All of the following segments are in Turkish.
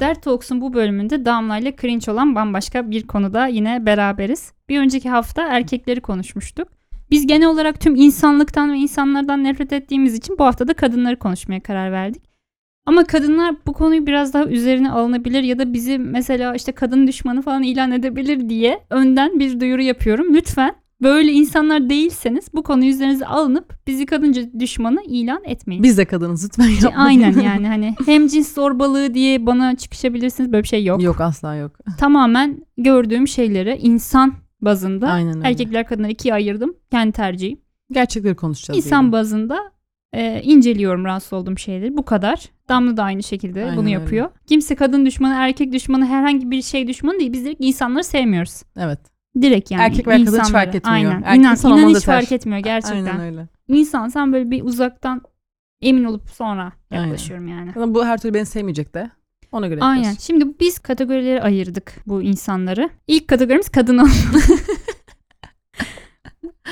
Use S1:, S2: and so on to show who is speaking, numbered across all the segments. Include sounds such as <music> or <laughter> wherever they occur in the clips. S1: Dert Talks'un bu bölümünde Damla ile cringe olan bambaşka bir konuda yine beraberiz. Bir önceki hafta erkekleri konuşmuştuk. Biz genel olarak tüm insanlıktan ve insanlardan nefret ettiğimiz için bu hafta da kadınları konuşmaya karar verdik. Ama kadınlar bu konuyu biraz daha üzerine alınabilir ya da bizi mesela işte kadın düşmanı falan ilan edebilir diye önden bir duyuru yapıyorum. Lütfen böyle insanlar değilseniz bu konuyu üzerinize alınıp bizi kadın düşmanı ilan etmeyin.
S2: Biz de kadınız lütfen yapmayın. <laughs>
S1: Aynen yani hani hem cins zorbalığı diye bana çıkışabilirsiniz böyle bir şey yok.
S2: Yok asla yok.
S1: Tamamen gördüğüm şeyleri insan bazında
S2: Aynen öyle.
S1: erkekler kadınları ikiye ayırdım. Kendi tercihim.
S2: Gerçekleri konuşacağız.
S1: İnsan
S2: yine.
S1: bazında e, inceliyorum rahatsız olduğum şeyleri. Bu kadar. Damla da aynı şekilde
S2: Aynen
S1: bunu
S2: öyle.
S1: yapıyor. Kimse kadın düşmanı, erkek düşmanı, herhangi bir şey düşmanı değil. Biz direkt insanları sevmiyoruz.
S2: Evet.
S1: Direkt yani.
S2: Erkek ve kadın hiç
S1: insanları.
S2: fark etmiyor.
S1: Aynen.
S2: Erkek
S1: İnan,
S2: insan
S1: inan
S2: olmanı
S1: hiç
S2: da ter.
S1: fark etmiyor gerçekten.
S2: Aynen öyle.
S1: İnsan sen böyle bir uzaktan emin olup sonra yaklaşıyorum yani.
S2: Ama bu her türlü beni sevmeyecek de. Ona göre
S1: Aynen.
S2: yapıyoruz.
S1: Şimdi biz kategorilere ayırdık bu insanları. İlk kategorimiz kadın olma. <laughs>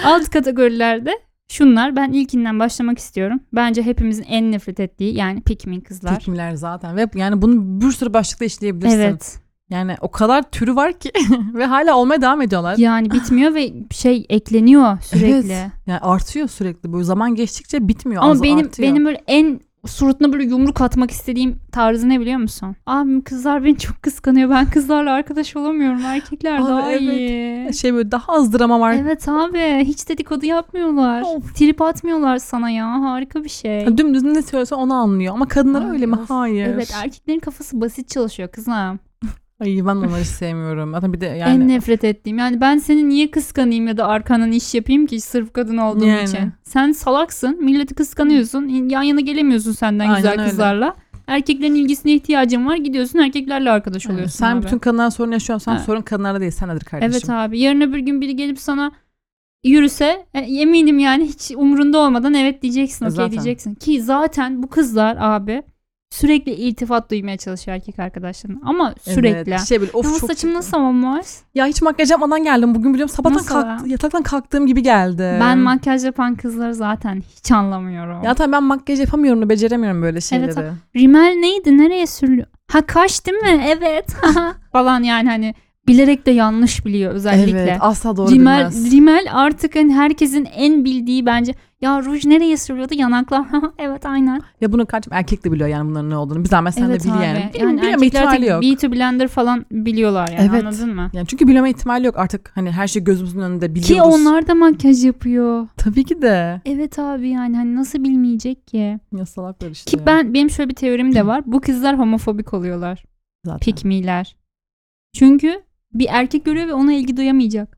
S1: Alt kategorilerde şunlar. Ben ilkinden başlamak istiyorum. Bence hepimizin en nefret ettiği yani pikmin kızlar.
S2: Fikimler zaten. Ve yani bunu bir sürü başlıkta işleyebilirsin.
S1: Evet.
S2: Yani o kadar türü var ki <laughs> ve hala olmaya devam ediyorlar.
S1: Yani bitmiyor ve şey ekleniyor sürekli.
S2: Evet. Yani artıyor sürekli. Bu zaman geçtikçe bitmiyor.
S1: Ama
S2: az
S1: benim
S2: artıyor.
S1: benim böyle en suratına böyle yumruk atmak istediğim tarzı ne biliyor musun? Abim kızlar beni çok kıskanıyor. Ben kızlarla arkadaş olamıyorum. Erkekler
S2: Abi
S1: daha
S2: evet.
S1: iyi.
S2: şey böyle daha az drama var.
S1: Evet abi hiç dedikodu yapmıyorlar.
S2: Of.
S1: Trip atmıyorlar sana ya harika bir şey.
S2: Yani Dümdüz ne söylesen onu anlıyor. Ama kadınlar
S1: Ay,
S2: öyle mi?
S1: of.
S2: Hayır.
S1: Evet erkeklerin kafası basit çalışıyor kızım.
S2: Ay ben onları <laughs> hiç sevmiyorum. Zaten bir de yani.
S1: En nefret ettiğim yani ben seni niye kıskanayım ya da arkandan iş yapayım ki sırf kadın olduğum
S2: Yani.
S1: için. Sen salaksın milleti kıskanıyorsun yan yana gelemiyorsun senden
S2: Aynen
S1: güzel
S2: öyle.
S1: kızlarla. Erkeklerin ilgisine ihtiyacın var gidiyorsun erkeklerle arkadaş
S2: Yani
S1: oluyorsun.
S2: sen
S1: abi.
S2: bütün kadınlara sorun yaşıyorsan
S1: Evet.
S2: sorun kadınlara değil senedir kardeşim.
S1: Evet abi yarın öbür gün biri gelip sana yürüse e, eminim yani hiç umrunda olmadan evet diyeceksin
S2: E,
S1: okey
S2: zaten.
S1: diyeceksin. Ki zaten bu kızlar abi sürekli iltifat duymaya çalışıyor erkek arkadaşlarına ama sürekli.
S2: Evet. Şey böyle of
S1: ya bu
S2: çok
S1: saçım
S2: kötü.
S1: nasıl ama var?
S2: Ya hiç makyaj yapmadan geldim bugün biliyorum. Sabahtan
S1: Nasıl
S2: kalk, yataktan kalktığım gibi geldi.
S1: Ben makyaj yapan kızları zaten hiç anlamıyorum.
S2: Ee, Ya tabii ben makyaj yapamıyorum da beceremiyorum böyle şeyleri.
S1: Evet, Rimel neydi? Nereye sürülüyor? Ha kaş değil mi? Evet. <laughs> falan yani hani bilerek de yanlış biliyor özellikle.
S2: Evet, asla doğru
S1: Rimel,
S2: bilmez.
S1: Rimel artık hani herkesin en bildiği bence. Ya ruj nereye sürüyordu? Yanaklar. <laughs> evet aynen.
S2: Ya bunu kaç erkek de biliyor yani bunların ne olduğunu. Biz zahmet sen
S1: evet
S2: de bil
S1: abi.
S2: yani. Bil-
S1: Yani
S2: bileme
S1: erkekler
S2: ihtimali
S1: artık
S2: yok.
S1: Beauty Blender falan biliyorlar yani
S2: Evet.
S1: anladın mı?
S2: Yani çünkü bileme ihtimali yok artık. Hani her şey gözümüzün önünde biliyoruz.
S1: Ki onlar da makyaj yapıyor.
S2: <laughs> Tabii ki de.
S1: Evet abi yani hani nasıl bilmeyecek ki?
S2: Ya salaklar işte.
S1: Ki
S2: ya.
S1: ben benim şöyle bir teorim de var. Bu kızlar homofobik oluyorlar.
S2: Zaten.
S1: Pikmiler. Çünkü bir erkek görüyor ve ona ilgi duyamayacak. Hmm.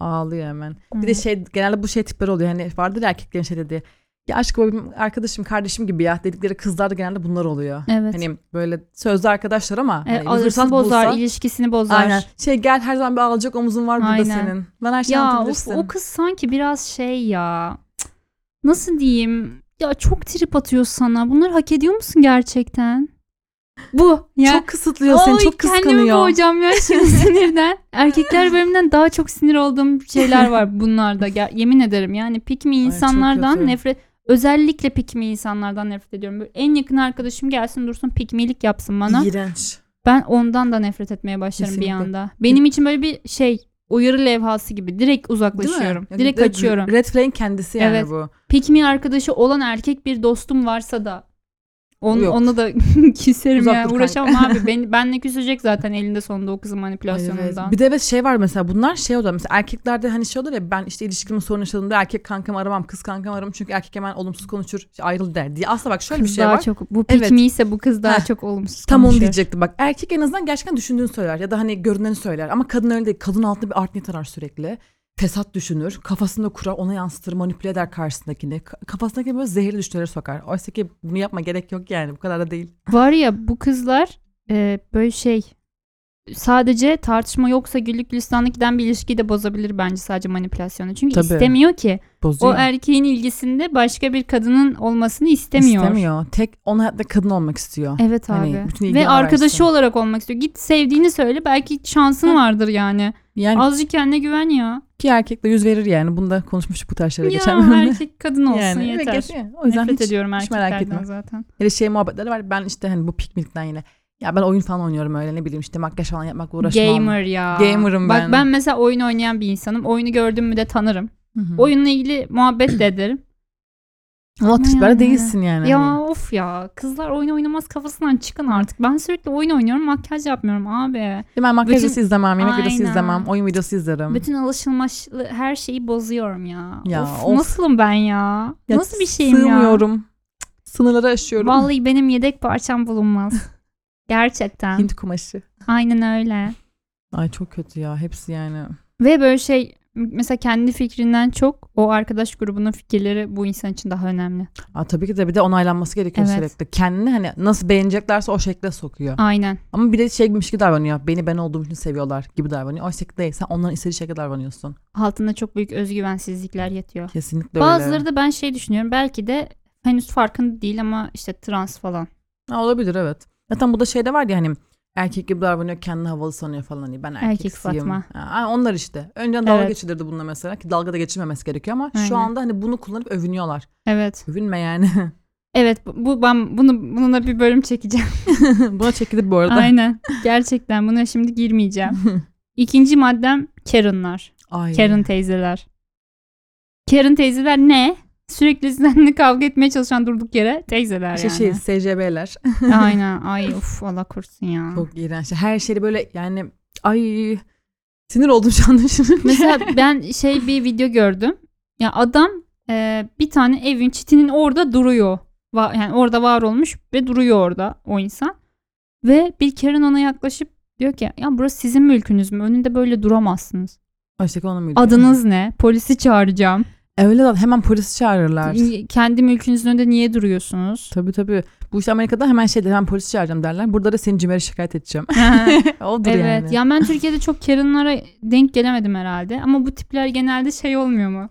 S2: Ağlıyor hemen. Bir de şey genelde bu şey tipler oluyor. Hani vardır ya erkeklerin şey dediği. Ya aşkım o benim arkadaşım kardeşim gibi ya dedikleri kızlar da genelde bunlar oluyor.
S1: Evet.
S2: Hani böyle sözde arkadaşlar ama
S1: E,
S2: hani bir
S1: alırsın
S2: fırsat
S1: bozar,
S2: bulsa-
S1: ilişkisini bozar.
S2: Aynen. Şey gel her zaman bir alacak omuzun var burada
S1: Aynen.
S2: senin. Ben her şeyi
S1: Ya of,
S2: anlatabilirsin.
S1: o kız sanki biraz şey ya. Cık. Nasıl diyeyim? Ya çok trip atıyor sana. Bunları hak ediyor musun gerçekten? Bu. Ya.
S2: Çok kısıtlıyor seni,
S1: Ay,
S2: çok
S1: Kendimi
S2: kıskanıyor.
S1: boğacağım ya
S2: <laughs>
S1: şimdi sinirden. Erkekler bölümünden daha çok sinir olduğum şeyler var bunlarda. Ger- yemin ederim yani pikmi
S2: çok
S1: insanlardan
S2: kötü.
S1: nefret özellikle pikmi insanlardan nefret ediyorum. Böyle en yakın arkadaşım gelsin dursun pikmilik yapsın bana.
S2: İğrenç.
S1: Ben ondan da nefret etmeye başlarım
S2: Kesinlikle.
S1: bir anda. Benim için böyle bir şey uyarı levhası gibi direkt
S2: Değil mi?
S1: uzaklaşıyorum.
S2: Yani
S1: Direkt
S2: de-
S1: kaçıyorum.
S2: Red Flag kendisi yani
S1: Evet.
S2: bu.
S1: Peki mi arkadaşı olan erkek bir dostum varsa da onu,
S2: Yok.
S1: onu da <laughs> küserim
S2: Uzak
S1: yani
S2: dur
S1: uğraşamam abi. Ben, benle küsecek zaten elinde sonunda o kızın
S2: Evet.
S1: manipülasyonundan.
S2: Bir de evet şey var mesela bunlar şey oluyor. Mesela erkeklerde hani şey olur ya ben işte ilişkimde sorun yaşadığımda erkek kankamı aramam, kız kankamı aramam çünkü erkek hemen olumsuz konuşur, işte ayrıl der diye. Aslında bak şöyle
S1: Kız
S2: bir şey
S1: daha
S2: var.
S1: çok bu
S2: Evet.
S1: pik mi ise bu kız daha
S2: Heh,
S1: çok olumsuz
S2: Tam onu
S1: konuşuyor.
S2: diyecektim bak. Erkek en azından gerçekten düşündüğünü söyler ya da hani görüneni söyler. Ama kadın öyle değil. Kadın altında bir art niyet arar sürekli. Fesat düşünür. Kafasında kurar, ona yansıtır, manipüle eder karşısındakini. Ka- Kafasındaki böyle zehirli düşüncelere sokar. Oysa ki bunu yapma gerek yok yani. Bu kadar da değil.
S1: Var ya bu kızlar e, böyle şey sadece tartışma yoksa güllük gülistanlık giden bir ilişkiyi de bozabilir bence sadece manipülasyonu. Çünkü
S2: Tabii.
S1: istemiyor ki.
S2: Bozuyor.
S1: O er- erkeğin ilgisinde başka bir kadının olmasını istemiyor.
S2: İstemiyor. Tek onun hayatta kadın olmak istiyor.
S1: Evet abi.
S2: Hani bütün ilgi
S1: Ve
S2: ona
S1: arkadaşı
S2: versin.
S1: olarak olmak istiyor. Git sevdiğini söyle belki şansın vardır yani.
S2: Yani
S1: Azıcık kendine güven ya.
S2: ki erkek de yüz verir yani. Bunu da konuşmuştuk bu tarz şeyleri
S1: Ya
S2: geçen <laughs> bölümde.
S1: erkek kadın olsun
S2: Yani, evet,
S1: yeter.
S2: geçiyor. O yüzden
S1: Nefret
S2: hiç,
S1: ediyorum
S2: hiç merak
S1: erkeklerden
S2: etme.
S1: zaten.
S2: Hele şey muhabbetleri var. Ben işte hani bu piknikten yine. Ya ben oyun falan oynuyorum öyle ne bileyim işte makyaj falan yapmakla uğraşmam.
S1: Gamer ya.
S2: Gamer'ım
S1: Bak
S2: ben.
S1: ben mesela oyun oynayan bir insanım. Oyunu gördüm mü de tanırım.
S2: Hı hı.
S1: Oyunla ilgili muhabbet de
S2: <clears throat>
S1: ederim.
S2: Ama
S1: Yani.
S2: böyle değilsin yani.
S1: Ya
S2: Hani.
S1: of ya. Kızlar oyun oynamaz kafasından çıkın artık. Ben sürekli oyun oynuyorum makyaj yapmıyorum abi.
S2: Ben makyaj
S1: Bütün-
S2: videosu izlemem, yemek videosu
S1: Aynen.
S2: izlemem, oyun videosu izlerim.
S1: Bütün alışılmışlı her şeyi bozuyorum ya.
S2: Ya,
S1: of,
S2: of.
S1: nasılım ben ya?
S2: Ya
S1: Nasıl bir şeyim ya?
S2: sığmıyorum. Cık, Sınırları aşıyorum.
S1: Vallahi benim yedek parçam
S2: <laughs>
S1: bulunmaz. Gerçekten.
S2: Hint kumaşı.
S1: Aynen öyle.
S2: Ay çok kötü ya hepsi yani.
S1: Ve böyle şey mesela kendi fikrinden çok o arkadaş grubunun fikirleri bu insan için daha önemli.
S2: Aa, tabii ki de bir de onaylanması gerekiyor
S1: Evet.
S2: sürekli. Kendini hani nasıl beğeneceklerse o şekle sokuyor.
S1: Aynen.
S2: Ama bir de şeymiş gibi davranıyor. Beni ben olduğum için seviyorlar gibi davranıyor. Oysa ki değil. Sen onların istediği şekilde davranıyorsun.
S1: Altında çok büyük özgüvensizlikler yatıyor.
S2: Kesinlikle
S1: Bazıları
S2: öyle.
S1: da ben şey düşünüyorum belki de henüz farkında değil ama işte trans falan.
S2: Ha, olabilir evet. Zaten bu da şeyde var ya hani erkek gibi davranıyor kendini havalı sanıyor falan. Hani ben
S1: Erkek
S2: erkeksiyim.
S1: Fatma.
S2: Ha, onlar işte. Önceden dalga
S1: Evet.
S2: geçilirdi bununla mesela. Ki dalga da geçilmemesi gerekiyor ama şu
S1: Aynen.
S2: anda hani bunu kullanıp övünüyorlar.
S1: Evet. <laughs>
S2: Övünme yani.
S1: Evet bu- bu ben bunu bununla bir bölüm çekeceğim.
S2: Buna çekilip bu arada.
S1: Aynen. Gerçekten buna şimdi girmeyeceğim.
S2: <laughs>
S1: İkinci maddem Karen'lar.
S2: Ay.
S1: Karen teyzeler. Karen teyzeler ne? Sürekli seninle kavga etmeye çalışan durduk yere teyzeler
S2: Şey,
S1: yani.
S2: şey SCB'ler. <laughs>
S1: Aynen. Ay of Allah korusun ya.
S2: Çok iğrenç. Her şeyi böyle yani ay sinir oldum şu anda şimdi.
S1: Mesela ben şey bir video gördüm. Ya adam e, bir tane evin çitinin orada duruyor. Va- yani orada var olmuş ve duruyor orada o insan. Ve bir Karen ona yaklaşıp diyor ki ya burası sizin mülkünüz mü? Önünde böyle duramazsınız.
S2: Oysa ki ona mı gülüyor?
S1: Adınız ne? Polisi çağıracağım.
S2: Öyle lan hemen polisi çağırırlar.
S1: Kendi mülkünüzün önünde niye duruyorsunuz?
S2: Tabii tabii. Bu işte Amerika'da hemen şey der, hemen polisi çağıracağım derler. Burada da seni cimere şikayet edeceğim. <laughs> Oldur
S1: evet.
S2: yani.
S1: Ya ben Türkiye'de çok Karen'lara denk gelemedim herhalde. Ama bu tipler genelde şey olmuyor mu?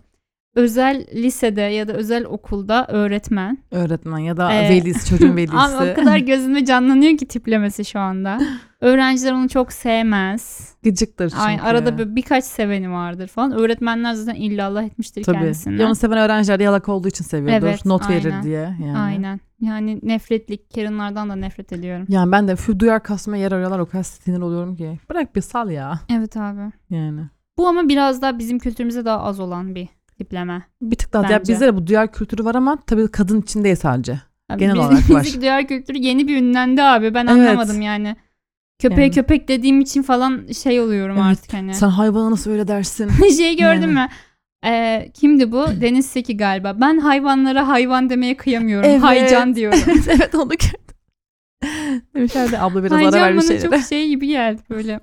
S1: Özel lisede ya da özel okulda öğretmen
S2: Öğretmen ya da
S1: Ee,
S2: velisi,
S1: <laughs>
S2: çocuğun
S1: Abi o
S2: velisi.
S1: kadar
S2: <laughs>
S1: gözünde canlanıyor ki tiplemesi şu anda. Öğrenciler onu çok sevmez.
S2: Gıcıktır çünkü.
S1: Ay, arada böyle birkaç seveni vardır falan. Öğretmenler zaten illallah etmiştir
S2: Tabii.
S1: kendisine.
S2: Ya onu seven öğrenciler de yalak olduğu için seviyordur.
S1: Evet,
S2: Not
S1: aynen.
S2: verir diye. Yani.
S1: Aynen. Yani nefretlik. Karen'lardan da nefret ediyorum.
S2: Yani ben de şu duyar kasma yer arıyorlar o kadar sinir oluyorum ki. Bırak bir sal ya.
S1: Evet abi.
S2: Yani.
S1: Bu ama biraz daha bizim kültürümüze daha az olan bir tipleme.
S2: Bir tık daha. Ya
S1: Bence.
S2: bizde de bu duyar kültürü var ama tabii kadın için değil sadece.
S1: Abi
S2: Genel
S1: biz- <laughs>
S2: olarak var.
S1: Bizdeki duyar kültürü yeni bir ünlendi abi. Ben
S2: Evet.
S1: anlamadım yani. Köpeğe
S2: Yani.
S1: köpek dediğim için falan şey oluyorum
S2: Evet.
S1: artık hani.
S2: Sen hayvana nasıl
S1: <laughs>
S2: öyle dersin?
S1: şey gördün
S2: Yani.
S1: mü? Ee, kimdi
S2: <clears throat>
S1: bu? Deniz Seki galiba. Ben hayvanlara hayvan demeye kıyamıyorum.
S2: Evet.
S1: Haycan diyorum.
S2: evet evet onu <laughs> gördüm. Demişler de abla <laughs> biraz ara
S1: Haycan
S2: ver bir
S1: bana çok
S2: şeylere.
S1: şey gibi geldi böyle.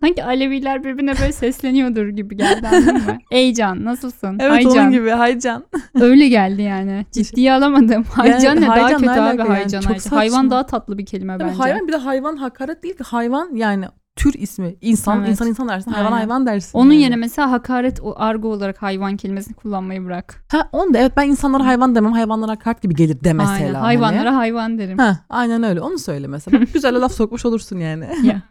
S1: Sanki Aleviler birbirine
S2: <laughs>
S1: böyle sesleniyordur gibi geldi anladın mı? Eycan nasılsın?
S2: Evet onun
S1: Haycan.
S2: gibi haycan.
S1: Öyle geldi yani. Ciddiye
S2: <laughs>
S1: alamadım. Haycan ne? daha
S2: haycan ne
S1: kötü abi
S2: alaka yani?
S1: haycan.
S2: Çok
S1: haycan. Hayvan
S2: saçma.
S1: daha tatlı bir kelime
S2: Tabii
S1: bence.
S2: hayvan bir de hayvan hakaret değil ki hayvan yani tür ismi insan
S1: Evet.
S2: insan insan dersin hayvan
S1: Aynen.
S2: hayvan dersin.
S1: Onun
S2: yani.
S1: yerine mesela hakaret o- argo olarak hayvan kelimesini kullanmayı bırak.
S2: ha onu da evet ben insanlara hayvan demem hayvanlara hakaret gibi gelir de mesela.
S1: Aynen.
S2: hani.
S1: Hayvanlara hayvan derim. <laughs>
S2: Ha, aynen öyle onu söyle mesela. Bak, Güzel laf sokmuş olursun yani.
S1: Ya.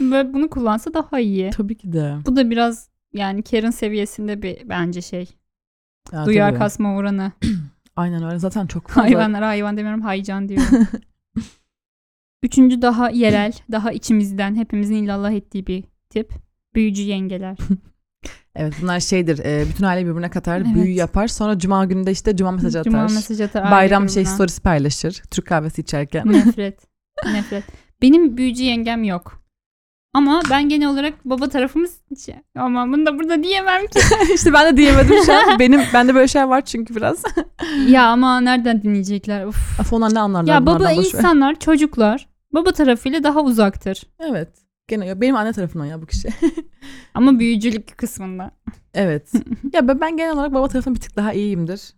S1: Böyle bunu kullansa daha iyi.
S2: Tabii ki de.
S1: Bu da biraz yani Karen seviyesinde bir bence şey.
S2: Ya,
S1: Duyar
S2: tabii.
S1: kasma
S2: <laughs>
S1: oranı.
S2: Aynen öyle zaten çok fazla.
S1: Hayvanlara hayvan demiyorum haycan
S2: <laughs>
S1: diyorum. Üçüncü daha yerel, daha içimizden hepimizin illallah ettiği bir tip. Büyücü
S2: <laughs>
S1: yengeler.
S2: Evet bunlar şeydir e, bütün aile birbirine katar
S1: Evet.
S2: büyü yapar sonra cuma günü de işte cuma mesajı atar.
S1: Cuma mesaj atar. aile
S2: Bayram şey
S1: grubuna.
S2: stories paylaşır Türk kahvesi
S1: <laughs>
S2: içerken.
S1: Nefret. Nefret. Benim büyücü yengem yok. Ama ben genel olarak baba tarafımız şey, ama bunu da burada diyemem ki.
S2: işte ben de diyemedim şu an. Benim bende böyle şey var çünkü
S1: <laughs>
S2: biraz.
S1: <laughs> ya ama nereden dinleyecekler? Of.
S2: Af onlar ne anlarlar
S1: Ya baba
S2: bunlardan, boş ver.
S1: insanlar, çocuklar baba tarafıyla daha uzaktır.
S2: Evet. Gene ya benim anne tarafından ya bu kişi. <laughs>
S1: Ama büyücülük kısmında.
S2: evet. ya ben, ben genel olarak baba tarafından bir tık daha iyiyimdir.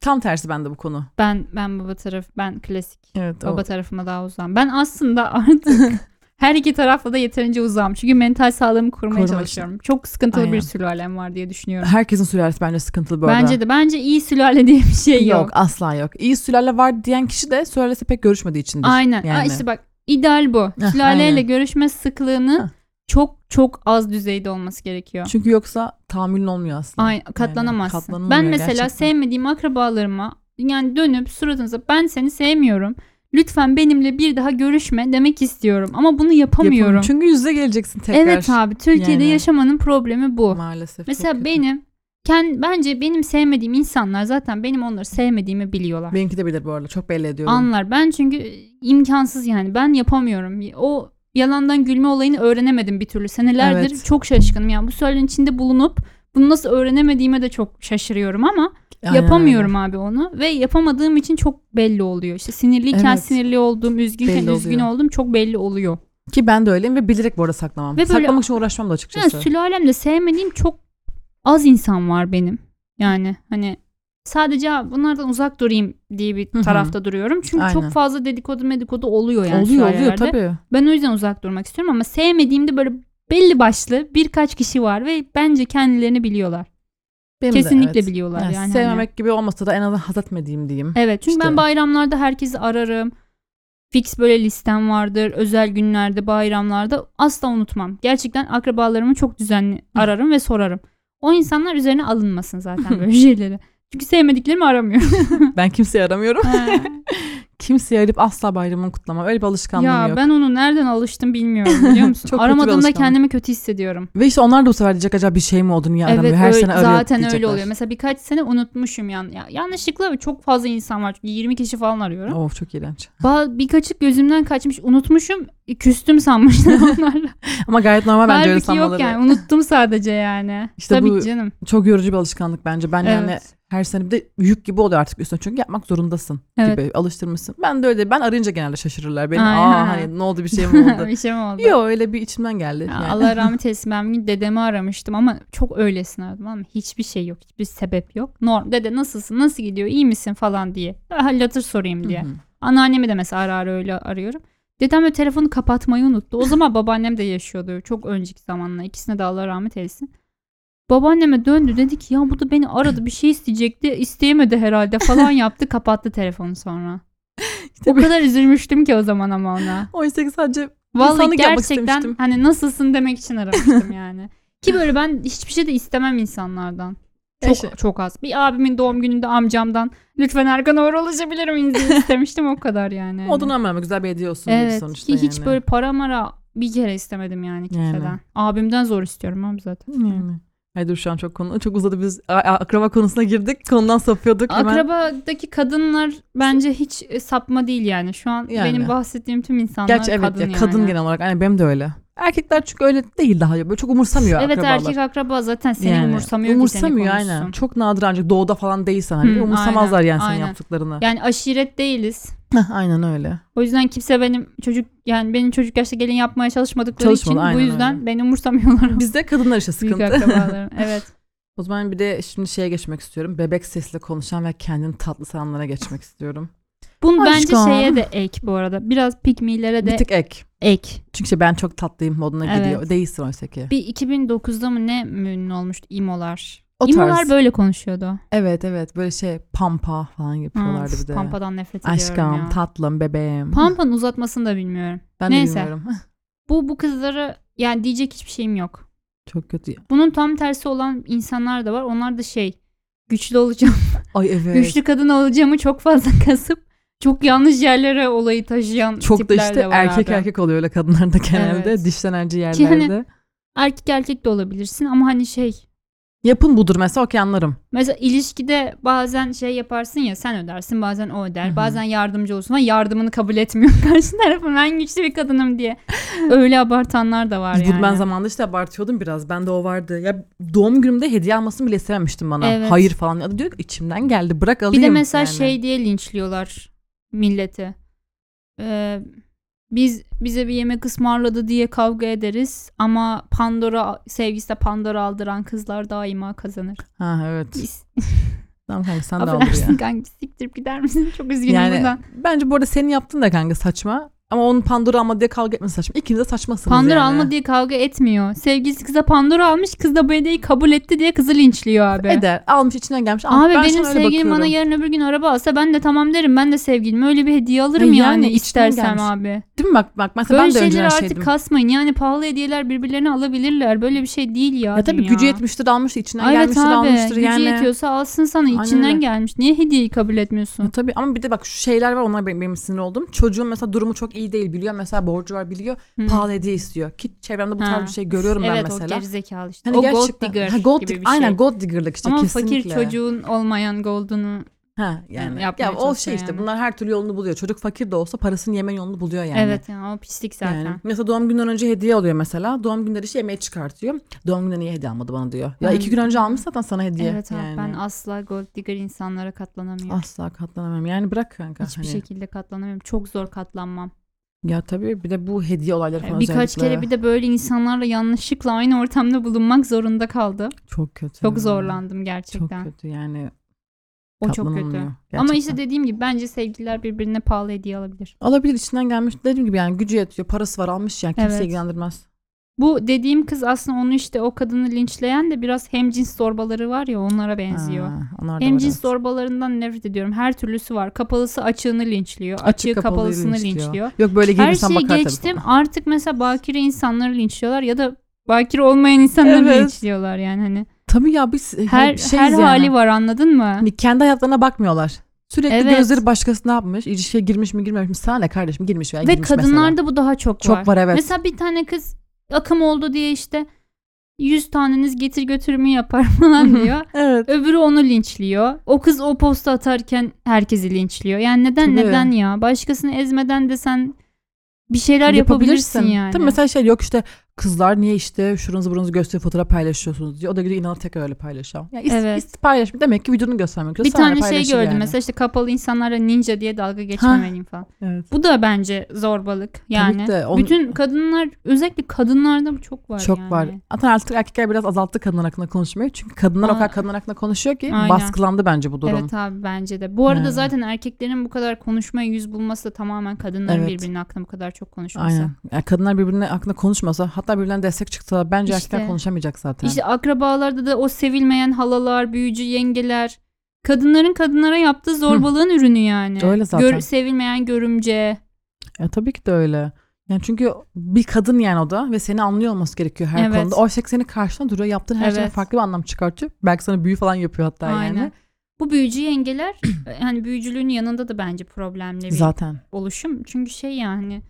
S2: Tam tersi bende bu konu.
S1: Ben ben baba taraf ben klasik
S2: Evet.
S1: baba tarafıma daha uzağım. Ben aslında artık <laughs> her iki tarafla da yeterince uzağım. Çünkü mental sağlığımı korumaya
S2: Korumak için.
S1: çalışıyorum. Çok sıkıntılı
S2: Aynen.
S1: bir sülalem var diye <laughs> düşünüyorum.
S2: Herkesin sülalesi bence sıkıntılı bu arada.
S1: Bence de bence iyi sülale diye bir şey yok.
S2: yok. asla yok. İyi sülale var diyen kişi de sülalesi pek görüşmediği içindir.
S1: Aynen. Aa,
S2: Yani.
S1: işte bak ideal bu.
S2: Heh,
S1: Sülaleyle
S2: aynen.
S1: görüşme
S2: Heh.
S1: sıklığının çok çok az düzeyde olması gerekiyor.
S2: Çünkü yoksa tahammülün olmuyor asla.
S1: Ay katlanamazsın.
S2: katlanılmıyor
S1: ben mesela
S2: gerçekten.
S1: sevmediğim akrabalarıma yani dönüp suratınıza ben seni sevmiyorum. Lütfen benimle bir daha görüşme demek istiyorum ama bunu yapamıyorum.
S2: Yapalım. Çünkü yüzde geleceksin tekrar.
S1: evet abi Türkiye'de
S2: Yani.
S1: yaşamanın problemi bu.
S2: Maalesef. çok
S1: Mesela
S2: kötü.
S1: benim kend, bence benim sevmediğim insanlar zaten benim onları sevmediğimi biliyorlar.
S2: Benimki de bilir bu arada. Çok belli ediyorum.
S1: Anlar. Ben çünkü e, imkansız yani ben yapamıyorum. O yalandan gülme olayını öğrenemedim bir türlü. Senelerdir
S2: Evet.
S1: çok şaşkınım. Yani bu söylenin içinde bulunup bunu nasıl öğrenemediğime de çok şaşırıyorum ama
S2: Aynen
S1: yapamıyorum abi onu ve yapamadığım için çok belli oluyor. İşte sinirliyken
S2: Evet.
S1: sinirli olduğum, üzgünken
S2: Belli
S1: üzgün
S2: oluyor.
S1: olduğum çok belli oluyor.
S2: öyle. Ki ben de öyleyim ve bilerek bu arada saklamam.
S1: Ve böyle-
S2: Saklamak için uğraşmam da
S1: Yani
S2: açıkçası.
S1: sülalemde sevmediğim çok az insan var benim. Yani hani sadece "Aa, bunlardan uzak durayım diye bir
S2: Hı hı.
S1: tarafta duruyorum. Çünkü
S2: Aynen.
S1: çok fazla dedikodu medikodu oluyor yani
S2: oluyor oluyor
S1: sülalelerde.
S2: tabii.
S1: Ben o yüzden uzak durmak istiyorum ama sevmediğimde böyle belli başlı birkaç kişi var ve bence kendilerini biliyorlar.
S2: Benim de,
S1: Kesinlikle
S2: evet.
S1: biliyorlar
S2: Yani
S1: yani. hani.
S2: sevmemek gibi olmasa da en azından haz etmediğim diyeyim.
S1: Evet çünkü
S2: İşte.
S1: ben bayramlarda herkesi ararım. Fix böyle listem vardır. Özel günlerde, bayramlarda asla unutmam. Gerçekten akrabalarımı çok düzenli ararım ve sorarım. O insanlar üzerine alınmasın zaten
S2: <laughs>
S1: böyle şeyleri. Çünkü sevmediklerimi aramıyorum.
S2: Ben kimseyi aramıyorum.
S1: <laughs>
S2: Kimseyi arayıp asla bayramını kutlamam. Öyle bir alışkanlığım
S1: ya
S2: yok.
S1: ben onu nereden alıştım bilmiyorum
S2: <laughs>
S1: biliyor musun?
S2: Çok kötü bir
S1: Aramadığımda
S2: alışkanlık.
S1: kendimi kötü hissediyorum.
S2: Ve işte onlar da bu sefer diyecek acaba bir şey mi oldu niye aramıyor? Her
S1: öyle-
S2: sene arıyor
S1: zaten öyle
S2: diyecekler.
S1: oluyor. Mesela birkaç sene unutmuşum yan, ya, yanlışlıkla ve çok fazla insan var. Çünkü 20 kişi falan arıyorum.
S2: Of çok iğrenç.
S1: Ba- birkaçı gözümden kaçmış unutmuşum. E, Küstüm
S2: <laughs>
S1: sanmışlar onlarla.
S2: Ama gayet normal bence öyle
S1: Halbuki
S2: sanmaları.
S1: yok yani unuttum sadece yani.
S2: İşte
S1: Tabii
S2: bu- hani
S1: canım.
S2: Çok yorucu bir alışkanlık bence. Ben yani
S1: Evet.
S2: her sene bir de yük gibi oluyor artık üstüne. Çünkü yapmak zorundasın
S1: Evet.
S2: gibi alıştırmışsın. Ben de öyle. Ben arayınca genelde şaşırırlar. Benim
S1: Aynen.
S2: aa hani ne oldu bir
S1: <laughs>
S2: şey mi oldu?
S1: bir şey mi oldu?
S2: Yok öyle bir içimden geldi.
S1: Ya,
S2: yani. <laughs>
S1: Allah rahmet eylesin ben bir gün dedemi aramıştım ama çok öylesine aradım ama hiçbir şey yok hiçbir sebep yok. Norm dede nasılsın nasıl gidiyor iyi misin falan diye. Hal hatır sorayım diye.
S2: Hı hı.
S1: Anneannemi de mesela ara ara öyle arıyorum. Dedem de telefonu kapatmayı unuttu. O zaman babaannem de yaşıyordu. Çok önceki zamanla. İkisine de Allah rahmet eylesin. Babaanneme döndü dedi ki ya bu da beni aradı bir şey isteyecekti. isteyemedi herhalde falan yaptı. Kapattı telefonu sonra.
S2: <laughs> İşte
S1: O
S2: bir-
S1: kadar üzülmüştüm ki o zaman ama ona.
S2: Oysa ki sadece
S1: Vallahi
S2: İnsanlık yapmak
S1: gerçekten
S2: istemiştim.
S1: hani nasılsın demek için
S2: <laughs>
S1: aramıştım yani. Ki böyle ben hiçbir şey de istemem insanlardan. Çok
S2: Yaşa.
S1: çok az. Bir abimin doğum gününde amcamdan lütfen Erkan Oğur'a ulaşabilir miyiz diye istemiştim o kadar yani. Hani
S2: odun ama güzel bir hediye olsun diye
S1: Evet
S2: sonuçta
S1: ki hiç
S2: yani.
S1: böyle para mara bir kere istemedim yani kimseden.
S2: Yani. Hmm.
S1: Abimden zor istiyorum abi zaten.
S2: Yani. Ay dur şu an çok konu çok uzadı biz a- a- akraba konusuna girdik konudan sapıyorduk hemen.
S1: Akrabadaki kadınlar bence hiç e, sapma değil yani. Şu an
S2: Yani.
S1: benim bahsettiğim tüm insanlar
S2: Gerçi evet
S1: kadın
S2: kadın, ya,
S1: yani.
S2: kadın genel olarak aynen benim de öyle. Erkekler çünkü öyle değil daha ya böyle çok umursamıyor
S1: Evet
S2: akrabalar.
S1: erkek akraba zaten seni
S2: Yani
S1: umursamıyor.
S2: umursamıyor
S1: ki seni
S2: aynen.
S1: konuşsun.
S2: Çok nadir ancak doğuda falan değilsen hani
S1: Hı,
S2: umursamazlar
S1: aynen,
S2: yani senin
S1: aynen.
S2: yaptıklarını.
S1: Yani aşiret değiliz.
S2: Heh, aynen öyle.
S1: O yüzden kimse benim çocuk yani benim çocuk yaşta gelin yapmaya çalışmadıkları
S2: Çalışmadı,
S1: için bu
S2: aynen
S1: yüzden
S2: öyle.
S1: beni
S2: <laughs>
S1: umursamıyorlar.
S2: Bizde kadınlar işte
S1: Büyük
S2: sıkıntı. <laughs>
S1: akrabalarım. Evet.
S2: O zaman bir de şimdi şeye geçmek istiyorum. Bebek sesle konuşan ve kendini tatlı sananlara geçmek istiyorum.
S1: Bunu bence
S2: Aşkım.
S1: şeye de ek bu arada. Biraz pikmilere de
S2: Bir tık ek.
S1: ek.
S2: Çünkü işte ben çok tatlıyım moduna
S1: Evet.
S2: gidiyor. Değilsin oysa ki.
S1: Bir 2009'da mı ne ünlü olmuştu İmolar.
S2: O
S1: İmolar
S2: tarz.
S1: böyle konuşuyordu.
S2: Evet evet böyle şey pampa falan yapıyorlardı
S1: Of,
S2: bir de.
S1: Pampa'dan nefret ediyorum
S2: Aşkım,
S1: ya.
S2: tatlım, bebeğim.
S1: Pampa'nın uzatmasını da bilmiyorum.
S2: ben de
S1: neyse.
S2: bilmiyorum. <laughs>
S1: Bu bu kızları yani diyecek hiçbir şeyim yok.
S2: çok kötü. ya.
S1: Bunun tam tersi olan insanlar da var. Onlar da şey güçlü olacağım,
S2: Ay evet.
S1: güçlü kadın olacağımı çok fazla <laughs> kasıp çok yanlış yerlere olayı taşıyan
S2: çok da
S1: tipler
S2: işte
S1: de var
S2: erkek
S1: abi.
S2: erkek oluyor öyle kadınlarda genelde.
S1: Evet.
S2: Dişlenenci
S1: Ki hani-
S2: yerlerde.
S1: Erkek erkek de olabilirsin ama hani şey
S2: Yapın budur mesela okey anlarım.
S1: Mesela ilişkide bazen şey yaparsın ya sen ödersin bazen o öder
S2: Hı hı.
S1: bazen yardımcı olsun ama yardımını kabul etmiyor <laughs> karşı tarafın ben güçlü bir kadınım diye öyle abartanlar da var
S2: Bunu
S1: yani.
S2: ben zamanında işte abartıyordum biraz. Bende o vardı. Ya doğum günümde hediye almasını bile istememiştim bana.
S1: Evet.
S2: Hayır falan. Ya da diyor ki içimden geldi bırak alayım.
S1: bir de mesela
S2: yani.
S1: şey diye linçliyorlar milleti. Ee, biz bize bir yemek ısmarladı diye kavga ederiz ama Pandora sevgisi de Pandora aldıran kızlar daima kazanır.
S2: Ha evet.
S1: Biz,
S2: Tamam kanka sen de al
S1: affedersin
S2: buraya.
S1: kanki siktirip gider misin? Çok üzgünüm
S2: Yani
S1: buradan.
S2: bence bu arada senin yaptığın da kanka saçma. Ama onun Pandora alma diye kavga etmesi saçma. İkiniz de saçmasınız
S1: Pandora
S2: yani.
S1: alma diye kavga etmiyor. Sevgilisi kıza Pandora almış kız da bu hediyeyi kabul etti diye kızı linçliyor abi.
S2: Eder. Almış içinden gelmiş. Al.
S1: Abi
S2: ben
S1: benim
S2: sana öyle
S1: sevgilim bana
S2: bakıyorum.
S1: yarın öbür gün araba alsa ben de tamam derim. Ben de sevgilime öyle bir hediye alırım
S2: E
S1: yani,
S2: yani içten
S1: istersem
S2: gelmiş.
S1: abi.
S2: Değil mi bak bak mesela
S1: Böyle
S2: ben de
S1: şeyleri
S2: önceden şey
S1: artık
S2: şeydim.
S1: kasmayın. Yani pahalı hediyeler birbirlerine alabilirler. Böyle bir şey değil ya.
S2: Ya tabii
S1: dünya.
S2: gücü yetmiştir almıştır içinden
S1: Ay Evet
S2: gelmiştir
S1: abi
S2: almıştır
S1: gücü
S2: yani.
S1: yetiyorsa alsın sana
S2: Aynen
S1: içinden
S2: öyle.
S1: gelmiş. Niye hediyeyi kabul
S2: Ya
S1: etmiyorsun?
S2: tabii ama bir de bak şu şeyler var onlar benim, benim sinir olduğum. Çocuğun mesela durumu çok iyi değil biliyor mesela borcu var biliyor.
S1: Hı.
S2: Pahalı hediye istiyor. Ki çevremde
S1: Ha.
S2: bu tarz bir şey görüyorum ben
S1: evet o
S2: mesela.
S1: gerizekalı işte.
S2: Hani
S1: o gold
S2: gerçekten-
S1: digger
S2: Ha, gold
S1: gibi
S2: dig-
S1: bir şey.
S2: Aynen gold digger'lık işte
S1: Ama
S2: kesinlikle.
S1: fakir çocuğun olmayan goldunu.
S2: Ha
S1: Yani
S2: yani.
S1: yapmaya
S2: ya o şey
S1: çalışıyor
S2: işte
S1: yani.
S2: bunlar her türlü yolunu buluyor. Çocuk fakir de olsa parasını yemen yolunu buluyor yani.
S1: Evet yani o pislik zaten.
S2: Yani mesela doğum günden önce hediye alıyor mesela. Doğum günleri işte yemeği çıkartıyor. Doğum gününe niye hediye almadı bana diyor. Ya
S1: Ben-
S2: iki gün önce almış zaten sana hediye.
S1: Evet abi
S2: yani.
S1: ben asla gold digger insanlara katlanamıyorum.
S2: asla katlanamam. Yani bırak kanka.
S1: Hiçbir şey-
S2: hani.
S1: şekilde katlanamıyorum. Çok zor katlanmam.
S2: Ya tabii bir de bu hediye olayları falan
S1: Birkaç
S2: özellikle.
S1: kere bir de böyle insanlarla yanlışlıkla aynı ortamda bulunmak zorunda kaldım.
S2: Çok kötü.
S1: Çok zorlandım gerçekten.
S2: Hmm. Çok kötü yani.
S1: o çok kötü.
S2: katlanılmıyor
S1: Ama
S2: gerçekten.
S1: işte dediğim gibi bence sevgililer birbirine pahalı hediye alabilir.
S2: Alabilir içinden gelmiş. Dediğim gibi yani gücü yetiyor. Parası var almış yani. Kimse
S1: Evet.
S2: ilgilendirmez.
S1: Bu dediğim kız aslında onu işte o kadını linçleyen de biraz hemcins zorbaları var ya onlara benziyor.
S2: Ha, onlar da var,
S1: Hemcins
S2: evet.
S1: zorbalarından nefret ediyorum. Her türlüsü var. Kapalısı açığını linçliyor. Açığı
S2: kapalıyı
S1: kapalısını linçliyor.
S2: Yok böyle
S1: Her
S2: giyinirsen
S1: şeyi
S2: bakar tabii
S1: geçtim.
S2: falan.
S1: Artık mesela bakire insanları linçliyorlar ya da bakire olmayan insanları
S2: Evet. Şey
S1: linçliyorlar yani hani.
S2: Tabii ya biz
S1: Her
S2: şeyiz
S1: her
S2: yani.
S1: hali var anladın mı?
S2: Hani kendi hayatlarına bakmıyorlar. Sürekli
S1: Evet.
S2: gözleri başkasına yapmış. İlişkiye girmiş mi girmemiş mi? Sana ne kardeşim girmiş veya
S1: Ve
S2: girmiş mesela.
S1: kadınlarda bu daha çok,
S2: Çok
S1: var.
S2: var evet.
S1: Mesela bir tane kız akım oldu diye işte 100 taneniz getir götürümü yapar <laughs> falan diyor.
S2: Evet.
S1: Öbürü onu linçliyor. O kız o posta atarken herkesi linçliyor. Yani neden
S2: Tabii.
S1: neden ya? Başkasını ezmeden de sen bir şeyler yapabilirsin,
S2: Yapabilirsin.
S1: yani.
S2: Tabii mesela şey yok işte kızlar niye işte şuranızı buranızı gösterip fotoğraf paylaşıyorsunuz diyor. O da gidiyor inanıp tekrar öyle paylaşıyor. Ya is,
S1: Evet.
S2: is- paylaşmıyor. Demek ki vücudunu göstermek.
S1: bir tane şey gördüm mesela işte kapalı insanlara ninja diye dalga geçmemeliyim falan.
S2: Evet.
S1: Bu da bence zorbalık yani.
S2: Tabii ki de. Onun-
S1: Bütün kadınlar özellikle kadınlarda bu çok var
S2: Çok
S1: yani.
S2: var. Zaten artık erkekler biraz azalttı kadınlar hakkında konuşmayı. Çünkü kadınlar
S1: Aa.
S2: o kadar kadınlar hakkında konuşuyor ki
S1: Aynen.
S2: baskılandı bence bu durum.
S1: Evet abi bence de. Bu arada
S2: Yani.
S1: zaten erkeklerin bu kadar konuşmaya yüz bulması da tamamen kadınların
S2: Evet.
S1: birbirinin hakkında bu kadar çok konuşması.
S2: Aynen. Yani kadınlar birbirine hakkında konuşmasa hatta birbirine destek çıksalar bence
S1: İşte.
S2: erkekler konuşamayacak zaten.
S1: İşte akrabalarda da o sevilmeyen halalar, büyücü yengeler, kadınların kadınlara yaptığı zorbalığın ürünü yani.
S2: Öyle zaten.
S1: sevilmeyen görümce.
S2: Ya tabii ki de öyle. Yani çünkü bir kadın yani o da ve seni anlıyor olması gerekiyor her
S1: Evet.
S2: konuda. Oysa ki senin karşına duruyor yaptığın her şeyden
S1: Evet.
S2: farklı bir anlam çıkartıyor. Belki sana büyü falan yapıyor hatta
S1: Aynen.
S2: yani.
S1: Bu büyücü yengeler <clears throat> hani büyücülüğün yanında da bence problemli bir
S2: Zaten.
S1: oluşum. Çünkü şey yani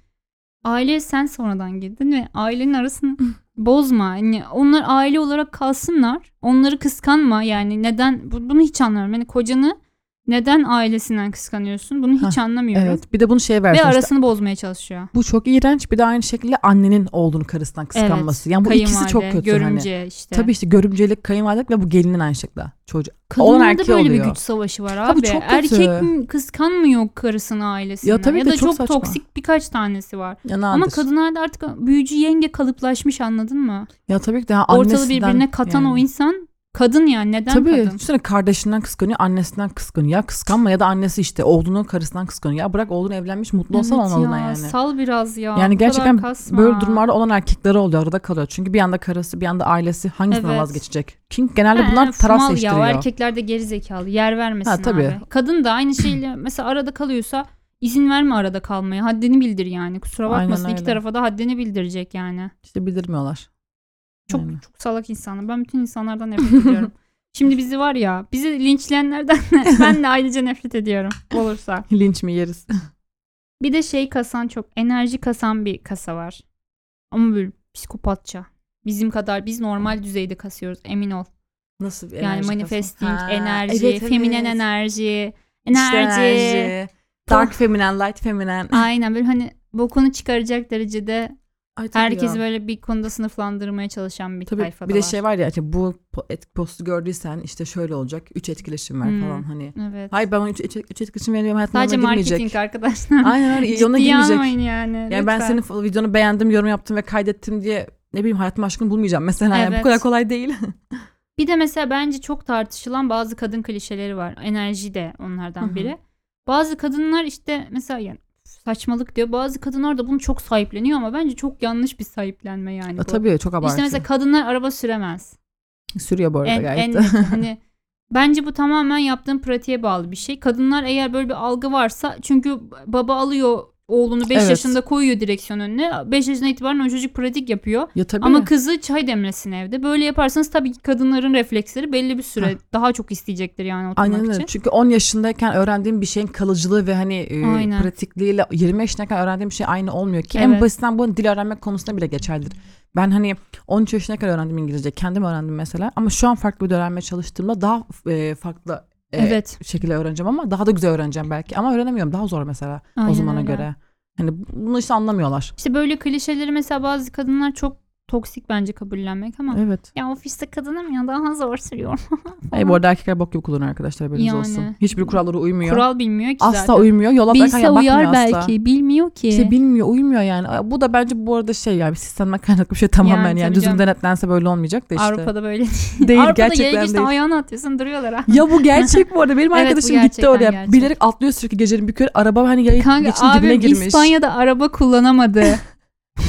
S1: aile sen sonradan girdin ve ailenin
S2: <laughs>
S1: arasını bozma. Yani onlar aile olarak kalsınlar. Onları kıskanma. Yani neden bu- bunu hiç anlamıyorum. Yani kocanı neden ailesinden kıskanıyorsun? Bunu hiç anlamıyorum.
S2: Evet. Bir de bunu şey
S1: Ve
S2: versin. işte,
S1: arasını bozmaya çalışıyor.
S2: bu çok iğrenç. Bir de aynı şekilde annenin oğlunu karısından kıskanması. yani bu ikisi çok
S1: kayınvalide,
S2: kötü hani.
S1: Görümce işte.
S2: Tabii işte görümcelik, kayınvalidelik ve bu gelinin aynı şekilde. Çocuğu. Olan
S1: Kadınlarda
S2: erkeği
S1: böyle
S2: oluyor.
S1: bir güç savaşı var abi.
S2: Tabii çok kötü.
S1: Erkek mi- kıskanmıyor karısını ailesinden. Ya,
S2: Ya tabii
S1: da
S2: de
S1: çok,
S2: çok saçma.
S1: toksik birkaç tanesi var.
S2: Ya
S1: Ama
S2: nadir.
S1: kadınlarda artık büyücü yenge kalıplaşmış anladın mı?
S2: Ya tabii ki de ha,
S1: Ortalığı
S2: annesinden
S1: birbirine katan
S2: yani.
S1: o insan kadın yani neden
S2: Tabii.
S1: kadın?
S2: Düşünsene kardeşinden kıskanıyor, annesinden kıskanıyor. Ya kıskanma ya da annesi işte oğlunun karısından kıskanıyor. Ya bırak oğlun evlenmiş mutlu olsan
S1: Evet
S2: onun adına
S1: ya,
S2: yani.
S1: Sal biraz ya.
S2: yani
S1: bu kadar
S2: gerçekten
S1: kasma.
S2: böyle durumlarda olan erkekleri oluyor arada kalıyor. Çünkü bir yanda karısı bir yanda ailesi hangisinden
S1: Evet.
S2: vazgeçecek? Çünkü genelde
S1: Ha,
S2: bunlar taraf
S1: fumal
S2: seçtiriyor.
S1: Ya, o erkekler de geri zekalı. Yer vermesin
S2: Ha, tabii.
S1: abi. Kadın da aynı
S2: <clears throat>
S1: şeyle mesela arada kalıyorsa izin verme arada kalmaya. Haddini bildir yani. Kusura
S2: Aynen
S1: bakmasın iki
S2: öyle.
S1: tarafa da haddini bildirecek yani.
S2: İşte bildirmiyorlar. <laughs>
S1: Çok
S2: Yani.
S1: çok salak insanlar. Ben bütün insanlardan nefret
S2: <laughs>
S1: ediyorum. Şimdi bizi var ya bizi linçleyenlerden de <laughs> ben de ayrıca nefret ediyorum olursa.
S2: linç mi yeriz?
S1: Bir de şey kasan çok enerji kasan bir kasa var. Ama böyle psikopatça. Bizim kadar biz normal düzeyde kasıyoruz emin ol.
S2: Nasıl bir
S1: yani
S2: enerji
S1: manifesting,
S2: kasası? Ha,
S1: enerji,
S2: evet, evet.
S1: feminen enerji,
S2: İşte
S1: enerji.
S2: enerji. Dark feminen, light feminen.
S1: Aynen böyle hani bokunu çıkaracak derecede
S2: Ay, tabii
S1: herkes
S2: ya.
S1: böyle bir konuda sınıflandırmaya çalışan bir
S2: Tabii
S1: tayfada
S2: bir de
S1: var.
S2: şey var ya işte bu po- et, postu gördüysen işte şöyle olacak. Üç etkileşim var
S1: Hmm.
S2: falan hani.
S1: Evet.
S2: Hayır ben o üç, üç, üç etkileşim veriyorum hayatımda
S1: Sadece marketing
S2: girmeyecek.
S1: arkadaşlar.
S2: Aynen öyle yoluna
S1: Ciddiye
S2: girmeyecek.
S1: almayın yani.
S2: Yani ben
S1: lütfen.
S2: senin fo- videonu beğendim, yorum yaptım ve kaydettim diye ne bileyim hayatım aşkını bulmayacağım mesela. Yani
S1: Evet.
S2: bu kadar
S1: <laughs>
S2: kolay değil.
S1: Bir de mesela bence çok tartışılan bazı kadın klişeleri var. Enerji de
S2: Hı
S1: onlardan
S2: hı.
S1: biri. Bazı kadınlar işte mesela yani saçmalık diyor. Bazı kadınlar da bunu çok sahipleniyor ama bence çok yanlış bir sahiplenme yani. bu.
S2: Ya, E, tabii çok abartı.
S1: İşte mesela kadınlar araba süremez.
S2: Sürüyor bu arada
S1: En,
S2: gayet
S1: en
S2: de.
S1: hani bence bu tamamen yaptığın pratiğe bağlı bir şey. Kadınlar eğer böyle bir algı varsa çünkü baba alıyor oğlunu 5
S2: Evet.
S1: yaşında koyuyor direksiyon önüne. 5 yaşına itibaren o çocuk pratik yapıyor.
S2: Ya tabii.
S1: Ama kızı çay demlesin evde. Böyle yaparsanız tabii ki kadınların refleksleri belli bir süre daha çok isteyecektir yani oturmak
S2: Aynen
S1: için.
S2: öyle. Çünkü 10 yaşındayken öğrendiğim bir şeyin kalıcılığı ve hani e,
S1: Aynen.
S2: pratikliğiyle 20 yaşındayken öğrendiğim bir şey aynı olmuyor ki. En
S1: Evet.
S2: basitinden bunu dil öğrenmek konusunda bile geçerlidir. Ben hani 13 yaşındayken öğrendim İngilizce. Kendim öğrendim mesela. Ama şu an farklı bir dil öğrenmeye çalıştığımda daha e, farklı e,
S1: Evet.
S2: şekilde öğreneceğim ama daha da güzel öğreneceğim belki. Ama öğrenemiyorum. Daha zor mesela
S1: Aynen
S2: o zamana
S1: öyle.
S2: göre. Hani bunu işte anlamıyorlar.
S1: İşte böyle klişeleri mesela bazı kadınlar çok toksik bence kabullenmek ama
S2: Evet.
S1: ya ofiste kadınım ya daha zor sürüyor.
S2: E, bu arada erkekler bok gibi kullanıyor arkadaşlar haberiniz
S1: Yani.
S2: olsun. Hiçbir kurallara uymuyor.
S1: Kural bilmiyor ki
S2: asla
S1: zaten.
S2: uymuyor. Yola bakan
S1: Bilse
S2: ya, bakmıyor
S1: uyar
S2: asla.
S1: belki bilmiyor ki.
S2: İşte bilmiyor, uymuyor yani. Aa, Bu da bence bu arada şey yani sistemden kaynaklı bir şey tamamen
S1: Yani
S2: yani.
S1: tabii
S2: Düzgün
S1: canım.
S2: denetlense böyle olmayacak da işte.
S1: Avrupa'da böyle
S2: <laughs> Değil
S1: Avrupa'da yaya
S2: gerçekten
S1: geçti
S2: değil.
S1: ayağını atıyorsun duruyorlar ha.
S2: Ya bu gerçek bu arada. Benim
S1: Evet, bu
S2: arkadaşım gitti
S1: gerçekten
S2: oraya.
S1: gerçek.
S2: Bilerek atlıyor sürekli gecenin bir köyü. Araba hani yaya
S1: Kanka
S2: geçin dibine
S1: abim
S2: girmiş.
S1: İspanya'da araba
S2: <laughs>
S1: kullanamadı.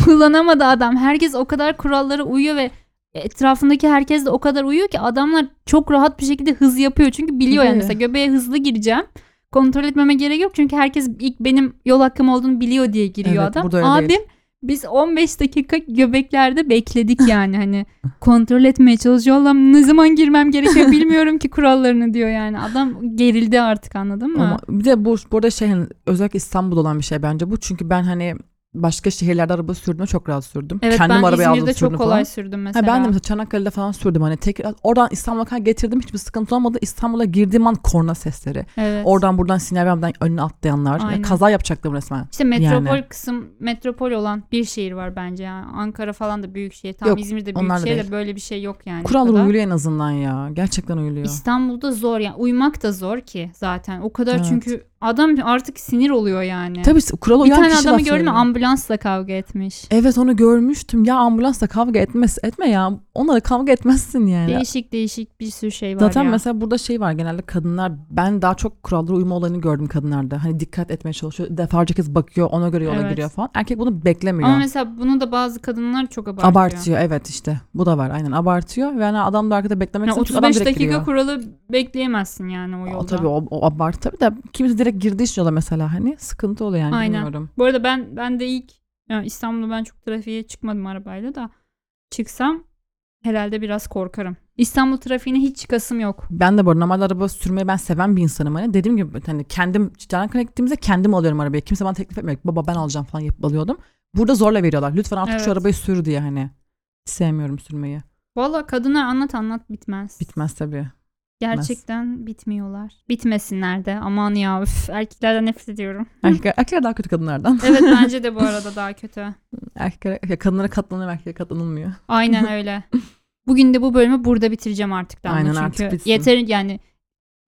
S1: kullanamadı adam. Herkes o kadar kurallara uyuyor ve etrafındaki herkes de o kadar uyuyor ki adamlar çok rahat bir şekilde hız yapıyor. Çünkü biliyor yani
S2: Tabii.
S1: mesela göbeğe hızlı gireceğim. Kontrol etmeme gerek yok çünkü herkes ilk benim yol hakkım olduğunu biliyor diye giriyor
S2: Evet,
S1: adam.
S2: burada öyle
S1: Abim
S2: değil.
S1: biz 15 dakika göbeklerde bekledik yani
S2: <laughs>
S1: hani kontrol etmeye çalışıyor. Allah'ım ne zaman girmem gerekiyor bilmiyorum ki kurallarını diyor yani. Adam gerildi artık anladın mı?
S2: Ama bir de bu burada şey hani özellikle İstanbul'da olan bir şey bence bu. Çünkü ben hani başka şehirlerde araba sürdüm çok rahat sürdüm.
S1: Evet
S2: Kendim
S1: ben
S2: arabaya aldım
S1: İzmir'de çok
S2: sürdüm
S1: kolay
S2: falan.
S1: sürdüm
S2: Ha,
S1: mesela.
S2: ben de mesela Çanakkale'de falan sürdüm hani tek oradan İstanbul'a kadar getirdim hiçbir sıkıntı olmadı. İstanbul'a girdiğim an korna sesleri.
S1: Evet.
S2: Oradan buradan sinyal vermeden önüne atlayanlar. Ya
S1: Aynen.
S2: kaza yapacaktım resmen.
S1: işte metropol
S2: Yani.
S1: kısım metropol olan bir şehir var bence yani. Ankara falan da büyük şehir. Tam
S2: Yok,
S1: İzmir'de büyük
S2: onlar da
S1: şehir de
S2: değil.
S1: böyle bir şey yok yani. O
S2: Kurallara
S1: kadar.
S2: uyuluyor en azından ya. Gerçekten uyuluyor.
S1: İstanbul'da zor yani. Uymak da zor ki zaten. O kadar
S2: Evet.
S1: çünkü adam artık sinir oluyor yani.
S2: Tabii kurala
S1: bir
S2: uyan
S1: tane
S2: kişi
S1: adamı
S2: laf
S1: gördüm
S2: söylüyor.
S1: ambulansla kavga etmiş.
S2: Evet onu görmüştüm. Ya ambulansla kavga etmez. Etme ya. Onlara kavga etmezsin yani.
S1: Değişik değişik bir sürü şey var
S2: Zaten
S1: ya.
S2: mesela burada şey var genelde kadınlar ben daha çok kurallara uyma olayını gördüm kadınlarda. Hani dikkat etmeye çalışıyor. Defalarca kez bakıyor ona göre yola
S1: Evet.
S2: giriyor falan. Erkek bunu beklemiyor.
S1: Ama mesela bunu da bazı kadınlar çok abartıyor.
S2: abartıyor evet işte. Bu da var aynen abartıyor. Ve hani adam da arkada beklemek
S1: Yani
S2: istemiyor. çünkü adam
S1: 35
S2: direkt
S1: dakika
S2: giriyor.
S1: kuralı bekleyemezsin yani o yolda.
S2: O tabii o, o abartı tabii de kimisi direkt girdi iş yola mesela hani sıkıntı oluyor yani
S1: Aynen.
S2: bilmiyorum.
S1: Bu arada ben ben de ilk yani İstanbul'da ben çok trafiğe çıkmadım arabayla da çıksam herhalde biraz korkarım. İstanbul trafiğine hiç çıkasım yok.
S2: Ben de bu arada normal araba sürmeyi ben seven bir insanım hani. Dediğim gibi hani kendim Çanakkale'ye gittiğimizde kendim alıyorum arabayı. Kimse bana teklif etmiyor. Baba ben alacağım falan yapıp alıyordum. Burada zorla veriyorlar. Lütfen artık
S1: Evet.
S2: şu arabayı sür diye hani. Sevmiyorum sürmeyi.
S1: Valla kadına anlat anlat bitmez.
S2: Bitmez tabii.
S1: Gerçekten bitmiyorlar. Bitmesinler de. Aman ya üf, erkeklerden nefret
S2: <laughs>
S1: ediyorum.
S2: Erkekler, erkekler daha kötü kadınlardan.
S1: Evet bence de bu arada daha kötü.
S2: Erkekler, ya kadınlara katlanıyor erkeklere katlanılmıyor.
S1: Aynen öyle. Bugün de bu bölümü burada bitireceğim artık Damla.
S2: Aynen,
S1: çünkü
S2: artık bitsin.
S1: yeter yani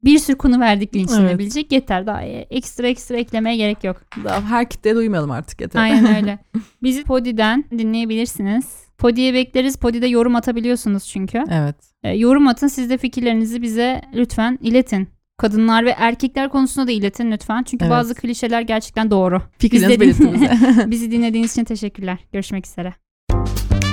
S1: bir sürü konu verdik
S2: Evet.
S1: linçlenebilecek yeter daha e, ekstra ekstra eklemeye gerek yok.
S2: Daha her kitleye duymayalım artık yeter.
S1: Aynen öyle. Bizi Podi'den dinleyebilirsiniz. Podi'ye bekleriz. Podi'de yorum atabiliyorsunuz çünkü.
S2: evet.
S1: E, yorum atın. Siz de fikirlerinizi bize lütfen iletin. Kadınlar ve erkekler konusunda da iletin lütfen. Çünkü
S2: Evet.
S1: bazı klişeler gerçekten doğru.
S2: Fikrinizi
S1: İzlediğiniz- <laughs>
S2: belirtin bize.
S1: Bizi dinlediğiniz için teşekkürler. Görüşmek üzere.